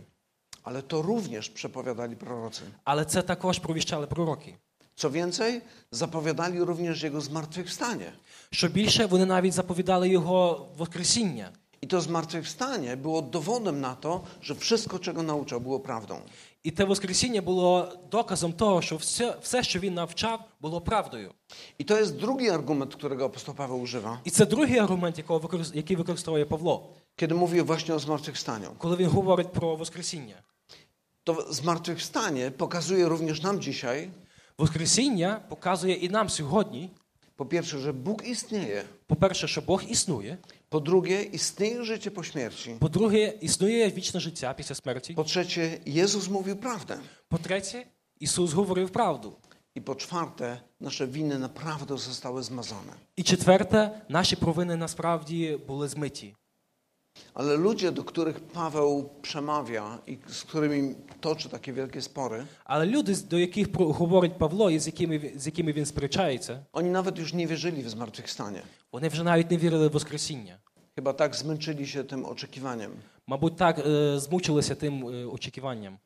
Speaker 1: Ale to również przepowiadali prorocy.
Speaker 2: Але це також провіщали пророки.
Speaker 1: Co więcej, zapowiadali również jego zmartwychwstanie.
Speaker 2: Що більше, вони навіть zapowiadали його воскресіння.
Speaker 1: I to zmartwychwstanie było dowodem na to, że wszystko, czego nauczał, było prawdą.
Speaker 2: І те воскресіння було доказом того, що все, все, що він навчав, було правдою.
Speaker 1: I to jest drugi argument, którego apostoł Paweł używa,
Speaker 2: І це другий аргумент, якого використ- який використовує Павло,
Speaker 1: kiedy mówi właśnie o zmartwychwstaniu.
Speaker 2: коли він говорить про воскресіння.
Speaker 1: To zmartwychwstanie pokazuje również nam dzisiaj,
Speaker 2: Воскресіння показує і нам сьогодні,
Speaker 1: po pierwsze, że Bóg istnieje,
Speaker 2: по-перше, що Бог існує,
Speaker 1: po drugie, istnieje życie po śmierci,
Speaker 2: по-друге, існує вічне життя після смерті.
Speaker 1: po trzecie, Jezus mówił prawdę
Speaker 2: По-третє, Ісус говорив правду.
Speaker 1: i po czwarte, nasze winy naprawdę zostały zmazane.
Speaker 2: І четверте, наші провини насправді були змиті.
Speaker 1: Ale ludzie, do których Paweł przemawia i z którymi toczy takie wielkie spory,
Speaker 2: Але люди, з- до яких про- говорить Павло і з якими, ві- з якими він сперечається,
Speaker 1: oni nawet już nie wierzyli w zmartwychwstanie.
Speaker 2: вони вже навіть не вірили в Воскресіння.
Speaker 1: Chyba tak zmęczyli się tym oczekiwaniem.
Speaker 2: Мабуть, так е, змучилися тим е, очікуванням.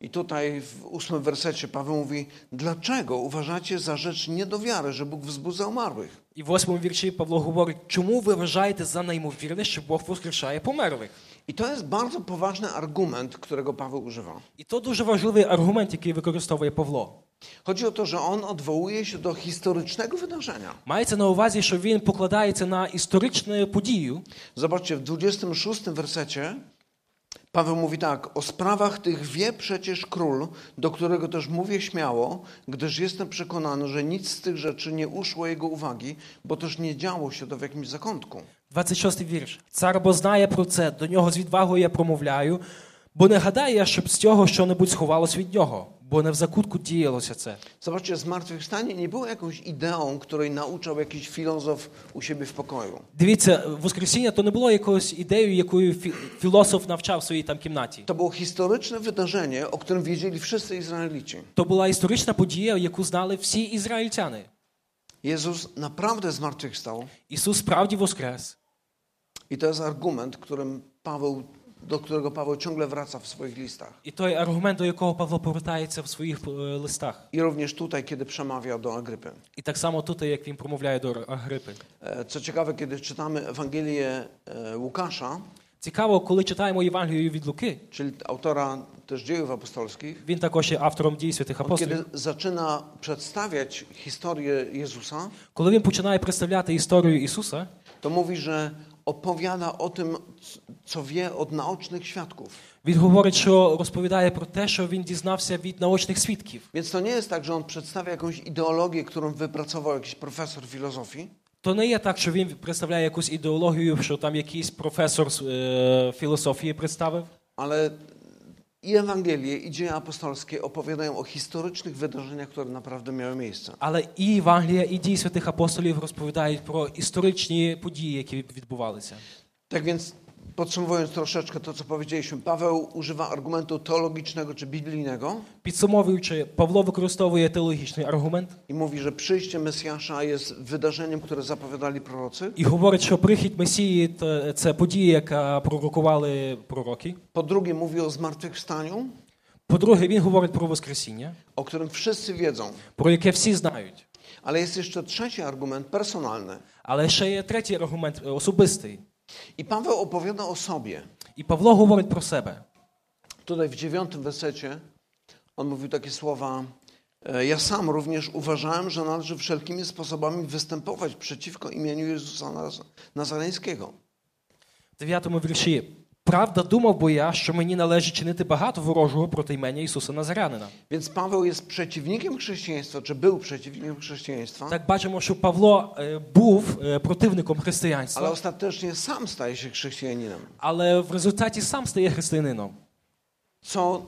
Speaker 1: I tutaj w ósmym wersecie Paweł mówi, dlaczego uważacie za rzecz nie do wiary, że Bóg wzbudza umarłych?
Speaker 2: І в восьмому вірші Павло говорить, чому ви вважаєте за неймовірне, що Бог воскрешає померлих?
Speaker 1: I to jest bardzo poważny argument, którego Paweł używa.
Speaker 2: І то дуже важливий аргумент, який використовує Павло.
Speaker 1: Chodzi o to, że on odwołuje się do historycznego wydarzenia.
Speaker 2: Мається на увазі, що він покладається на історичну подію.
Speaker 1: Zobaczcie, w 26 wersecie Paweł mówi tak: O sprawach tych wie przecież król, do którego też mówię śmiało, gdyż jestem przekonany, że nic z tych rzeczy nie uszło jego uwagi, bo też nie działo się to w jakimś zakątku.
Speaker 2: 26 вірш. Цар бо знає про це, до нього з відвагою я промовляю, бо не гадаю я, щоб з цього що-небудь сховалось від нього, бо не в закутку діялося це.
Speaker 1: Zobaczcie, zmartwychwstanie nie było jakąś ideą, której nauczał jakiś filozof u siebie w pokoju.
Speaker 2: Дивіться, Воскресіння то не було якоюсь ідеєю, якою фі- філософ навчав в своїй там кімнаті.
Speaker 1: To było historyczne wydarzenie, o którym wiedzieli wszyscy Izraelici.
Speaker 2: То була історична подія, яку знали всі ізраїльтяни.
Speaker 1: Jezus naprawdę zmartwychwstał
Speaker 2: Ісус справді воскрес.
Speaker 1: i to jest argument, którym Paweł, do którego Paweł ciągle wraca w swoich listach.
Speaker 2: І той аргумент, до якого Павло повертається в своїх е, листах.
Speaker 1: I również tutaj, kiedy przemawia do Agrypy.
Speaker 2: І так само тут, як він промовляє до Агрипи.
Speaker 1: E, Co ciekawe, kiedy czytamy Ewangelię e, Łukasza,
Speaker 2: Цікаво, коли читаємо Євангелію від Луки,
Speaker 1: czyli autora też dziejów apostolskich,
Speaker 2: він також є автором дій святих
Speaker 1: on
Speaker 2: апостолів.
Speaker 1: kiedy zaczyna przedstawiać historię Jezusa,
Speaker 2: Коли він починає представляти історію Ісуса,
Speaker 1: to mówi, że opowiada o tym, c- co wie od naocznych świadków.
Speaker 2: він говорить, що розповідає про те, що він дізнався від наочних свідків.
Speaker 1: Więc to nie jest tak, że on przedstawia jakąś ideologię, którą wypracował jakiś profesor filozofii,
Speaker 2: То не є так, що він представляє якусь ідеологію, що там якийсь професор з, е, філософії представив.
Speaker 1: ale i Ewangelie, i dzieje apostolskie opowiadają o historycznych wydarzeniach, które naprawdę miały miejsce.
Speaker 2: Але і Євангелія, і дії святих апостолів розповідають про історичні podії, які відбувалися.
Speaker 1: Tak więc podsumowując troszeczkę to, co powiedzieliśmy, Paweł używa argumentu teologicznego czy biblijnego
Speaker 2: Підсумовуючи, Павло використовує теологічний аргумент
Speaker 1: i mówi, że przyjście Mesjasza jest wydarzeniem, które zapowiadali prorocy.
Speaker 2: і говорить, що прихід Месії та- це подія, яка пророкували пророки.
Speaker 1: Po drugie, mówi o zmartwychwstaniu,
Speaker 2: По-друге, він говорить про Воскресіння,
Speaker 1: o którym wszyscy wiedzą.
Speaker 2: про яке всі знають.
Speaker 1: Ale jest jeszcze trzeci argument personalny.
Speaker 2: Але ще є третій аргумент е, особистий.
Speaker 1: I Paweł opowiada o sobie.
Speaker 2: І Павло говорить про себе.
Speaker 1: Tutaj w dziewiątym wersecie on mówił takie słowa. e, Ja sam również uważałem, że należy wszelkimi sposobami występować przeciwko imieniu Jezusa Naz- Nazareńskiego.
Speaker 2: В дев'ятому вірші. Правда, думав бо я, що мені належить чинити багато ворожого проти імені Ісуса Назарянина.
Speaker 1: Więc Paweł jest przeciwnikiem chrześcijaństwa, czy był przeciwnikiem chrześcijaństwa,
Speaker 2: Так бачимо, що Павло е, був е, противником
Speaker 1: ale
Speaker 2: християнства,
Speaker 1: ostatecznie sam staje się chrześcijaninem.
Speaker 2: але в результаті сам стає християнином.
Speaker 1: Co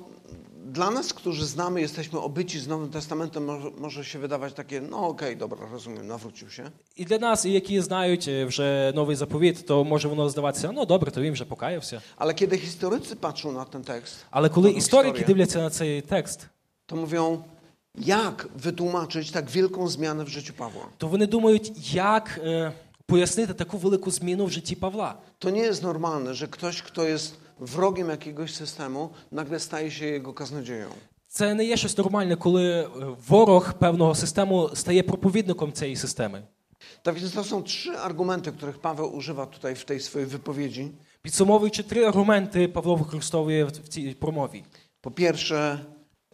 Speaker 1: dla nas, którzy znamy, jesteśmy obyci z Nowym Testamentem, może, może się wydawać takie, no okej, dobra, rozumiem, nawrócił się.
Speaker 2: І для нас, і які знають е, вже новий заповіт, то може воно здаватися, ну добре, то він вже покаявся.
Speaker 1: Ale kiedy historycy patrzą na ten tekst,
Speaker 2: Але коли
Speaker 1: na tę
Speaker 2: історики
Speaker 1: historię,
Speaker 2: дивляться на цей текст,
Speaker 1: to mówią, jak wytłumaczyć tak wielką zmianę w życiu Pawła.
Speaker 2: то вони думають, як е, пояснити таку велику зміну в житті Павла.
Speaker 1: To nie jest normalne, że ktoś, kto jest wrogiem jakiegoś systemu, nagle staje się jego kaznodzieją.
Speaker 2: Це не є щось нормальне, коли е, ворог певного систему стає проповідником цієї системи.
Speaker 1: Tak więc to są trzy argumenty, których Paweł używa tutaj w tej swojej wypowiedzi.
Speaker 2: Підсумовуючи три аргументи, Павло використовує в в цій промові.
Speaker 1: Po pierwsze,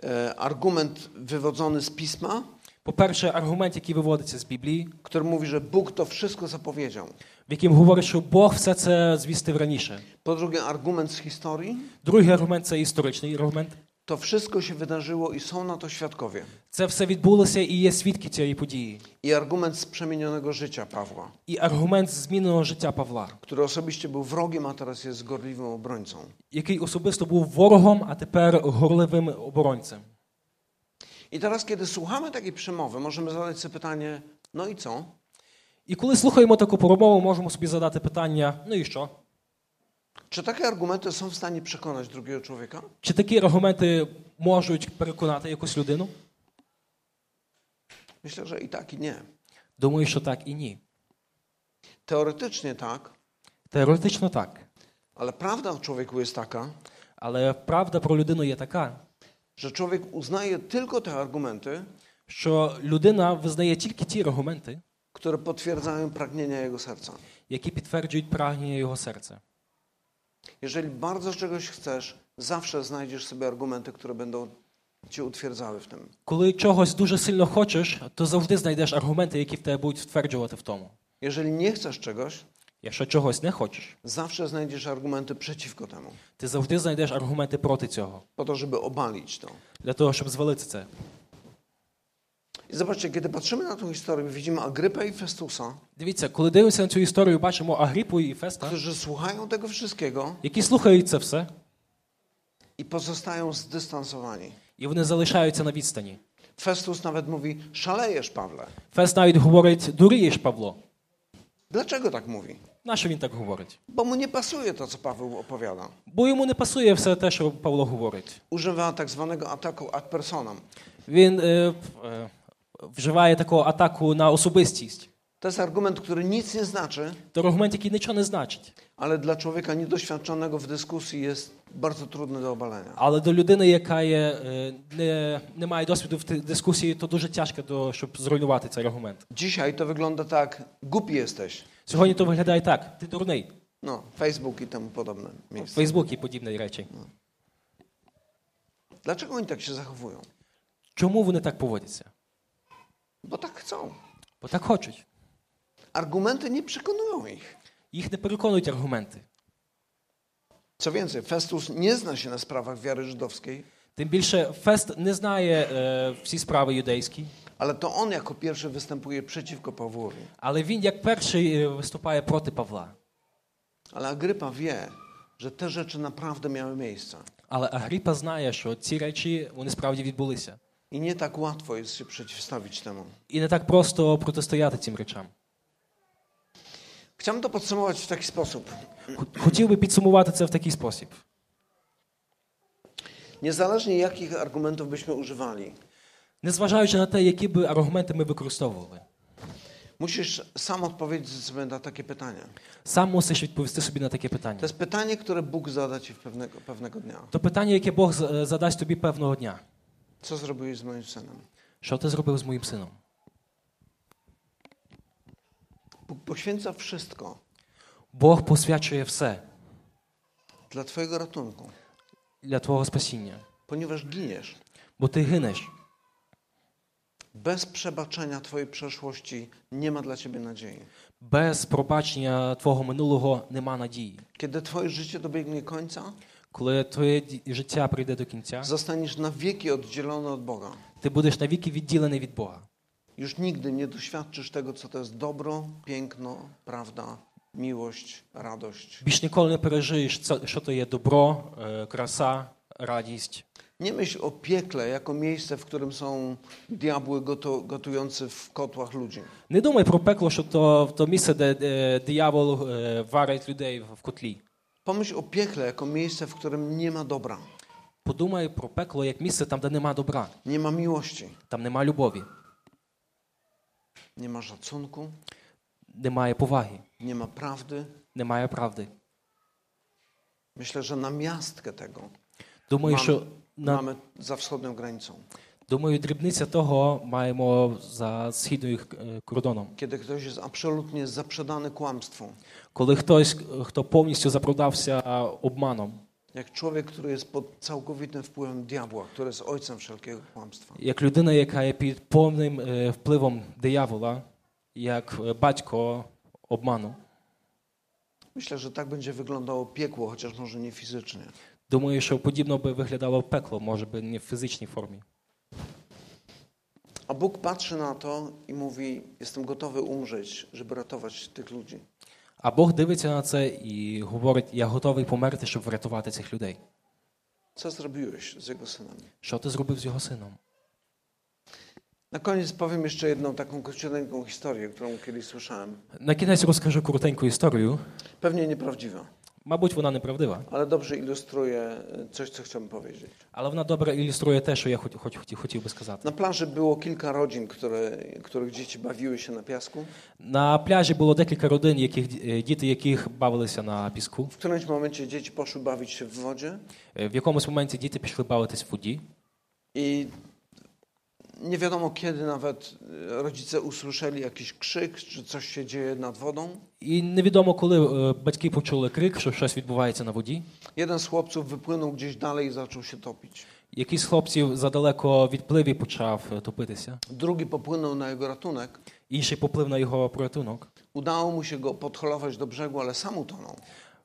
Speaker 1: e, argument wywodzony z pisma,
Speaker 2: По-перше, аргумент, який виводиться з Біблії,
Speaker 1: który mówi, że Bóg to wszystko zapowiedział.
Speaker 2: в яким говорить, що Бог все це звістив раніше.
Speaker 1: Po drugie, argument z historii.
Speaker 2: Другий аргумент це історичний аргумент.
Speaker 1: To wszystko się wydarzyło i są na to świadkowie.
Speaker 2: Це все відбулося і є свідки цієї події.
Speaker 1: I argument z przemienionego życia Pawła,
Speaker 2: І аргумент зміненого життя Павла,
Speaker 1: który osobiście był wrogiem, a teraz jest gorliwym obrońcą.
Speaker 2: який особисто був ворогом, а тепер горливим оборонцем.
Speaker 1: I teraz, kiedy słuchamy takiej przemowy, możemy zadać sobie pytanie, no i co?
Speaker 2: І коли слухаємо таку промову, можемо собі задати питання: ну і що?
Speaker 1: Czy takie argumenty są w stanie przekonać drugiego człowieka?
Speaker 2: Чи такі аргументи можуть переконати якусь людину?
Speaker 1: Myślę, że i так, i nie.
Speaker 2: Думаю, що так і ні.
Speaker 1: Teoretycznie tak,
Speaker 2: Теоретично так.
Speaker 1: ale prawda o człowieku jest taka,
Speaker 2: Але правда про людину є така,
Speaker 1: że człowiek uznaje tylko te argumenty,
Speaker 2: що людина визнає тільки ті аргументи,
Speaker 1: które potwierdzają pragnienia jego serca.
Speaker 2: які підтверджують прагнення його серця.
Speaker 1: Jeżeli bardzo czegoś chcesz, zawsze znajdziesz sobie argumenty, które będą cię utwierdzały w tym.
Speaker 2: Коли чогось дуже сильно хочеш, то завжди знайдеш аргументи, які в тебе будуть стверджувати в тому.
Speaker 1: Jeżeli nie chcesz czegoś,
Speaker 2: Якщо чогось не хочеш,
Speaker 1: zawsze znajdziesz argumenty przeciwko temu,
Speaker 2: ти завжди знайдеш аргументи проти цього,
Speaker 1: po to, żeby obalić to.
Speaker 2: для того, щоб звалити це.
Speaker 1: I zobaczcie, kiedy patrzymy na tą historię, widzimy Agrypę i Festusa,
Speaker 2: Дивіться, коли дивимося на цю історію, бачимо Агріпу і Феста,
Speaker 1: którzy słuchają tego wszystkiego
Speaker 2: які слухають це все,
Speaker 1: i pozostają zdystansowani.
Speaker 2: і вони залишаються на відстані.
Speaker 1: Festus nawet mówi: Szalejesz, Pawle.
Speaker 2: Фест навіть говорить: дурієш, Павло.
Speaker 1: Dlaczego tak mówi?
Speaker 2: Нащо він так говорить?
Speaker 1: Bo mu nie pasuje to, co Paweł opowiada.
Speaker 2: Бо йому не пасує все те, що Павло говорить.
Speaker 1: Używa tak zwanego ataku ad personam.
Speaker 2: Він е, е, вживає таку атаку на особистість.
Speaker 1: To jest argument, który nic nie znaczy,
Speaker 2: Це аргумент, який нічого не значить.
Speaker 1: ale dla człowieka niedoświadczonego w dyskusji jest bardzo trudny do obalenia.
Speaker 2: Але до людини, яка є, е, не, не має досвіду в ти- дискусії, то дуже тяжко, до, щоб зруйнувати цей аргумент.
Speaker 1: Dzisiaj to wygląda tak: głupi jesteś.
Speaker 2: Сьогодні то виглядає так: ти дурний,
Speaker 1: No, Facebook i temu podobne miejsca.
Speaker 2: Фейсбук і подібні речі.
Speaker 1: Dlaczego oni tak się zachowują?
Speaker 2: Чому вони так поводяться?
Speaker 1: Bo tak chcą.
Speaker 2: Бо так хочуть.
Speaker 1: Argumenty nie przekonują ich.
Speaker 2: Їх не переконують аргументи.
Speaker 1: Co więcej, Festus nie zna się na sprawach wiary żydowskiej,
Speaker 2: Тим більше Фест не знає е, всі справи юдейські,
Speaker 1: ale to on jako pierwszy występuje przeciwko Pawłowi.
Speaker 2: але він як перший е, виступає проти Павла.
Speaker 1: Ale Agrypa wie, że te rzeczy naprawdę miały miejsce.
Speaker 2: Але Агріпа знає, що ці речі вони справді відбулися.
Speaker 1: I nie tak łatwo jest się przeciwstawić temu.
Speaker 2: І не так просто протистояти цим речам.
Speaker 1: Chciałem to podsumować w taki sposób.
Speaker 2: Хо- Хотів би підсумувати це в такий спосіб.
Speaker 1: Niezależnie jakich argumentów byśmy używali,
Speaker 2: Незважаючи на те, які би аргументи ми використовували,
Speaker 1: musisz sam odpowiedzieć sobie na takie pytanie.
Speaker 2: сам мусиш відповісти собі на таке
Speaker 1: To
Speaker 2: питання.
Speaker 1: jest pytanie, które Bóg zada ci w pewnego, pewnego dnia.
Speaker 2: То питання, яке Бог з- е, задасть тобі певного дня.
Speaker 1: Co zrobiłeś z moim synem?
Speaker 2: Що ти зробив з моїм сином?
Speaker 1: Bóg poświęca wszystko
Speaker 2: Бог посвячує все
Speaker 1: dla Twojego ratunku,
Speaker 2: для твого спасіння,
Speaker 1: ponieważ giniesz.
Speaker 2: бо ти гинеш.
Speaker 1: Bez przebaczenia Twojej przeszłości nie ma dla Ciebie nadziei.
Speaker 2: Без пробачення твого минулого нема надії.
Speaker 1: Kiedy Twoje życie dobiegnie końca,
Speaker 2: Коли твоє ді- життя прийде до кінця,
Speaker 1: zostaniesz na wieki oddzielony od Boga.
Speaker 2: ти будеш навіки відділений від Бога.
Speaker 1: Już nigdy nie doświadczysz tego, co to jest dobro, piękno, prawda, miłość, radość.
Speaker 2: Більш ніколи не пережиєш, це- що то є добро, е, краса, радість.
Speaker 1: Nie myśl o piekle jako miejsce, w którym są diabły goto- gotujący w kotłach ludzi.
Speaker 2: Не думай про пекло, що то, то місце, де е, диявол е, варить людей в котлі.
Speaker 1: Pomyśl o piekle jako miejsce, w którym nie ma dobra,
Speaker 2: Подумай про пекло як місце там, де нема добра,
Speaker 1: nie ma miłości,
Speaker 2: там нема любові,
Speaker 1: nie ma szacunku,
Speaker 2: немає поваги,
Speaker 1: nie ma prawdy.
Speaker 2: немає правди.
Speaker 1: Myślę, że na miastkę tego
Speaker 2: Думаю,
Speaker 1: Мам-
Speaker 2: що на
Speaker 1: mamy za wschodnią granicą.
Speaker 2: думаю, дрібниця того маємо за східним е, кордоном.
Speaker 1: Kiedy ktoś jest absolutnie zaprzedany kłamstwu,
Speaker 2: Коли хтось, е, хто повністю запродався е, обманом,
Speaker 1: jak człowiek, który jest pod całkowitym wpływem diabła, który jest ojcem wszelkiego kłamstwa.
Speaker 2: як людина, яка є під повним е, впливом диявола, як е, батько обману,
Speaker 1: Myślę, że tak będzie wyglądało piekło, chociaż może nie fizycznie.
Speaker 2: думаю, що подібно би виглядало пекло, може би не в фізичній формі.
Speaker 1: A Bóg patrzy na to i mówi: Jestem gotowy umrzeć, żeby ratować tych ludzi.
Speaker 2: А Бог дивиться на це і говорить: я готовий померти, щоб врятувати цих людей.
Speaker 1: Co zrobiłeś z jego synem?
Speaker 2: Що ти зробив з його сином?
Speaker 1: Na koniec powiem jeszcze jedną taką króciuteńką historię, którą kiedyś słyszałem.
Speaker 2: На кінець розкажу коротеньку історію.
Speaker 1: Pewnie nieprawdziwa,
Speaker 2: Мабуть, вона неправдива,
Speaker 1: ale dobrze ilustruje y, coś, co chciałbym powiedzieć.
Speaker 2: але вона добре ілюструє те, що я хоч, хоч, хотів- хотів би сказати.
Speaker 1: Na plaży było kilka rodzin, które, których dzieci bawiły się na piasku.
Speaker 2: На пляжі було декілька родин, яких ді- е, діти яких бавилися на піску.
Speaker 1: W którymś momencie dzieci poszły bawić się w wodzie
Speaker 2: Е, В якомусь моменті діти пішли бавитись в воді,
Speaker 1: i nie wiadomo kiedy nawet y, rodzice usłyszeli jakiś krzyk, czy coś się dzieje nad wodą.
Speaker 2: і невідомо, коли е, батьки почули крик, що щось відбувається на воді.
Speaker 1: Jeden z chłopców wypłynął gdzieś dalej i zaczął się topić.
Speaker 2: Якийсь з хлопців задалеко відплив і почав е, топитися.
Speaker 1: Drugi popłynął na jego ratunek.
Speaker 2: Інший поплив на його порятунок.
Speaker 1: Udało mu się go podholować do brzegu, ale sam utonął.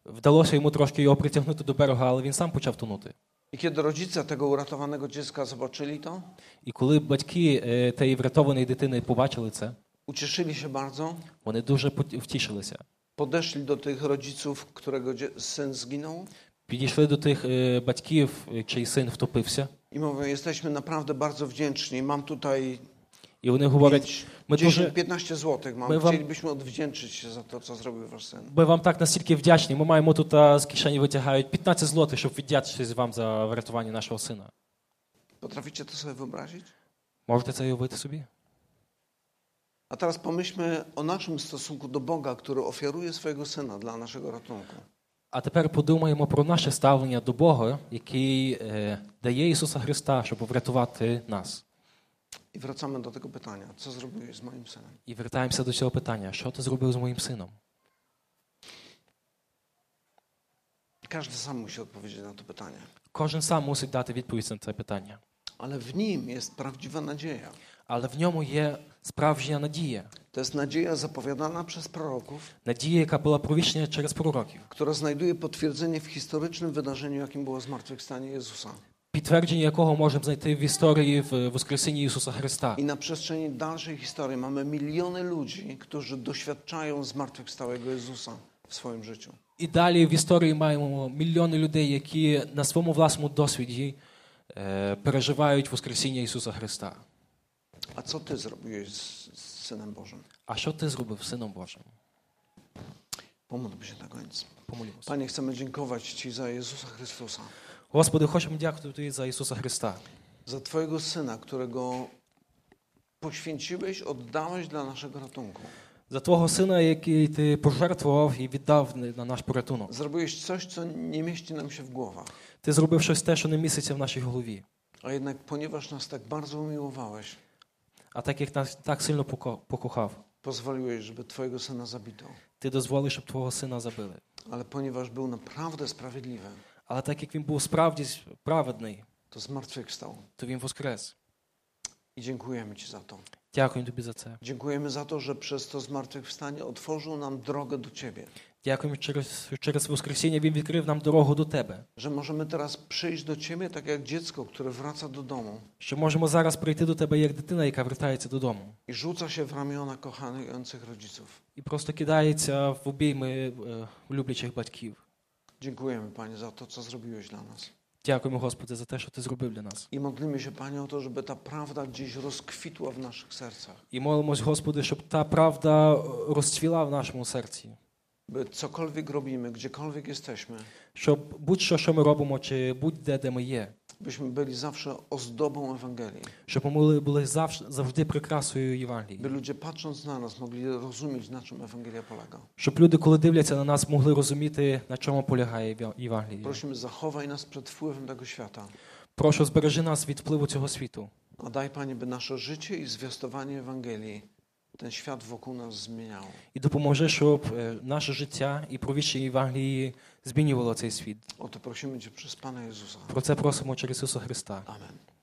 Speaker 2: Вдалося йому трошки його притягнути до берега, але він сам почав тонути.
Speaker 1: I kiedy rodzice tego uratowanego dziecka zobaczyli to,
Speaker 2: І коли батьки е, тієї врятованої дитини побачили це,
Speaker 1: ucieszyli się bardzo,
Speaker 2: вони дуже пот- втішилися.
Speaker 1: podeszli do tych rodziców, którego dzie- syn zginął
Speaker 2: Підійшли до тих е, батьків, е, чий син втопився,
Speaker 1: i mówią, jesteśmy naprawdę bardzo wdzięczni, mam tutaj
Speaker 2: і вони говорять:
Speaker 1: pięć-
Speaker 2: ми
Speaker 1: 10,
Speaker 2: дуже
Speaker 1: 15 złotych
Speaker 2: my
Speaker 1: mam,
Speaker 2: wam-
Speaker 1: chcielibyśmy odwdzięczyć się za to, co zrobił wasz syn.
Speaker 2: ми вам так настільки вдячні. Ми маємо тут а, з кишені витягають 15 злотих, щоб віддячитись вам за врятування нашого сина.
Speaker 1: Potraficie to sobie wyobrazić?
Speaker 2: Можете це уявити собі?
Speaker 1: A teraz pomyślmy o naszym stosunku do Boga, który ofiaruje swojego syna dla naszego ratunku.
Speaker 2: А тепер подумаємо про наше ставлення до Бога, який е, дає Ісуса Христа, щоб врятувати нас.
Speaker 1: I wracamy do tego pytania, co zrobiłeś z moim synem?
Speaker 2: І вертаємося до цього питання: що ти зробив з моїм сином?
Speaker 1: Każdy sam musi odpowiedzieć na to pytanie.
Speaker 2: Кожен сам мусить дати відповідь на це питання.
Speaker 1: Ale w nim jest prawdziwa nadzieja.
Speaker 2: Але в ньому є справжня надія.
Speaker 1: To jest nadzieja zapowiadana przez proroków,
Speaker 2: Надія, яка була провіщена через пророків.
Speaker 1: która znajduje potwierdzenie w historycznym wydarzeniu, jakim było zmartwychwstanie Jezusa.
Speaker 2: Підтвердження якого можемо знайти в історії в Воскресінні Ісуса Христа.
Speaker 1: I na przestrzeni dalszej historii mamy miliony ludzi, którzy doświadczają zmartwychwstałego Jezusa w swoim życiu.
Speaker 2: І далі в історії маємо мільйони людей, які на своєму власному досвіді е, переживають Воскресіння Ісуса Христа.
Speaker 1: A co ty zrobiłeś z, z Synem Bożym?
Speaker 2: А що ти зробив з Сином Божим?
Speaker 1: Pomódlmy się na koniec.
Speaker 2: Помолімося.
Speaker 1: Panie, chcemy dziękować Ci za Jezusa Chrystusa,
Speaker 2: Господи, хочемо дякувати Тобі за Ісуса Христа,
Speaker 1: za Twojego Syna, którego poświęciłeś, oddałeś dla naszego ratunku.
Speaker 2: за Твого Сина, який Ти пожертвував і віддав на наш порятунок.
Speaker 1: Zrobiłeś coś, co nie mieści nam się w głowach.
Speaker 2: Ти зробив щось те, що не міститься в нашій голові.
Speaker 1: A jednak ponieważ nas tak bardzo umiłowałeś,
Speaker 2: А так як нас так сильно поко- покохав,
Speaker 1: pozwoliłeś, żeby Twojego Syna zabito.
Speaker 2: Ти дозволив, щоб Твого Сина забили.
Speaker 1: Ale ponieważ był naprawdę sprawiedliwy,
Speaker 2: Але так як він був справді праведний,
Speaker 1: to zmartwychwstał.
Speaker 2: то він воскрес.
Speaker 1: I dziękujemy Ci za to.
Speaker 2: Дякую тобі за це.
Speaker 1: Dziękujemy za to, że przez to zmartwychwstanie otworzył nam drogę do Ciebie.
Speaker 2: Дякуємо через, через Воскресіння Він відкрив нам дорогу до Тебе,
Speaker 1: Że możemy teraz przyjść do Ciebie tak jak dziecko, które wraca do domu
Speaker 2: що можемо зараз прийти до Тебе як дитина, яка вертається додому,
Speaker 1: i rzuca się w ramiona kochających rodziców.
Speaker 2: і просто кидається в обійми е, люблячих батьків.
Speaker 1: Dziękujemy Panie za to, co zrobiłeś dla nas.
Speaker 2: Дякуємо, Господи, за те, що Ти зробив для нас.
Speaker 1: I modlimy się Panie o to, żeby ta prawda gdzieś rozkwitła w naszych sercach.
Speaker 2: І молимось, Господи, щоб та правда е, розцвіла в нашому серці,
Speaker 1: By cokolwiek robimy, gdziekolwiek jesteśmy,
Speaker 2: щоб будь-що, що ми робимо, чи будь-де, де ми є,
Speaker 1: byśmy byli zawsze ozdobą Ewangelii.
Speaker 2: щоб ми були, були завжди, завжди прикрасою
Speaker 1: By
Speaker 2: Євангелії.
Speaker 1: ludzie patrząc na nas mogli rozumieć, na czym Ewangelia polega.
Speaker 2: Щоб люди, коли дивляться на нас, могли розуміти, на чому полягає Єва- Євангеліє.
Speaker 1: Prosimy, zachowaj nas przed wpływem tego świata,
Speaker 2: Прошу, збережи нас від впливу цього світу.
Speaker 1: a daj Panie, by nasze życie i zwiastowanie Ewangelii ten świat wokół nas zmieniało.
Speaker 2: І допоможи, щоб е, наше життя і провіщення Євангелії змінювало цей світ.
Speaker 1: O to prosimy Cię przez Pana Jezusa.
Speaker 2: Про це просимо через Ісуса Христа.
Speaker 1: Amen.